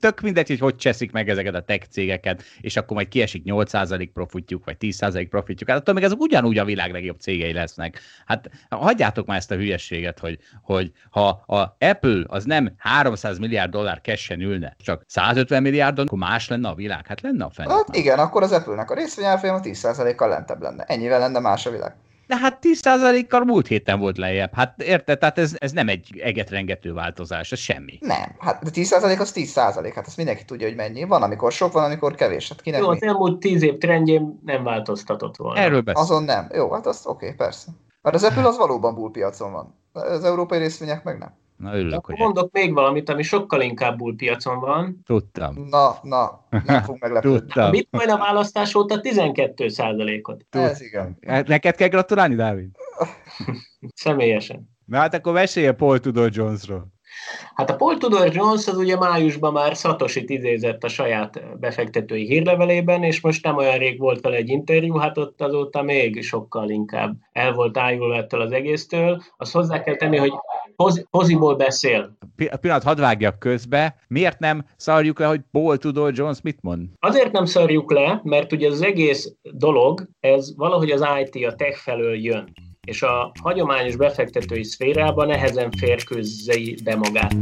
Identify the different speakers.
Speaker 1: tök mindegy, hogy hogy cseszik meg ezeket a tech cégeket, és akkor majd kiesik 8% profitjuk, vagy 10% profitjuk. Hát attól még ezek ugyanúgy a világ legjobb cégei lesznek. Hát hagyjátok már ezt a hülyeséget, hogy, hogy ha a Apple az nem 300 milliárd dollár kessen ülne, csak 150 milliárdon, akkor más lenne a világ. Hát lenne a fenn.
Speaker 2: Hát igen, akkor az Apple-nek a részvényárfolyama 10%-kal lentebb lenne. Ennyivel lenne más a világ.
Speaker 1: De hát 10%-kal múlt héten volt lejjebb. Hát érted? Tehát ez, ez nem egy egetrengető változás, ez semmi.
Speaker 2: Nem, hát de 10% az 10%, hát azt mindenki tudja, hogy mennyi. Van, amikor sok, van, amikor kevés. Hát kinek
Speaker 3: Jó,
Speaker 2: mi?
Speaker 3: az elmúlt tíz év trendjén nem változtatott volna.
Speaker 1: Erről beszélünk.
Speaker 2: Azon nem. Jó, hát azt oké, okay, persze. Mert az Apple az valóban bullpiacon van. Az európai részvények meg nem.
Speaker 1: Na örülök,
Speaker 3: Akkor
Speaker 1: hogy egy-
Speaker 3: mondok még valamit, ami sokkal inkább bull piacon van.
Speaker 1: tudtam.
Speaker 2: Na, na, nem fog meglepődni.
Speaker 3: A
Speaker 1: Tudtam.
Speaker 3: bitcoin a választás óta 12%-ot.
Speaker 2: Ez igen.
Speaker 1: Hát Neked kell gratulálni, Dávid?
Speaker 3: Személyesen.
Speaker 1: Na hát akkor mesélj a Paul Tudor Jonesról.
Speaker 3: Hát a Paul Tudor Jones az ugye májusban már Satosit idézett a saját befektetői hírlevelében, és most nem olyan rég volt vele egy interjú, hát ott azóta még sokkal inkább el volt ájulva ettől az egésztől. Azt hozzá kell tenni, hogy poz- poziból beszél,
Speaker 1: Pi- Pillanat, hadd vágjak közbe. Miért nem szarjuk le, hogy Paul Tudor Jones mit mond?
Speaker 3: Azért nem szarjuk le, mert ugye az egész dolog, ez valahogy az IT, a tech felől jön és a hagyományos befektetői szférában nehezen férkőzzi be magát.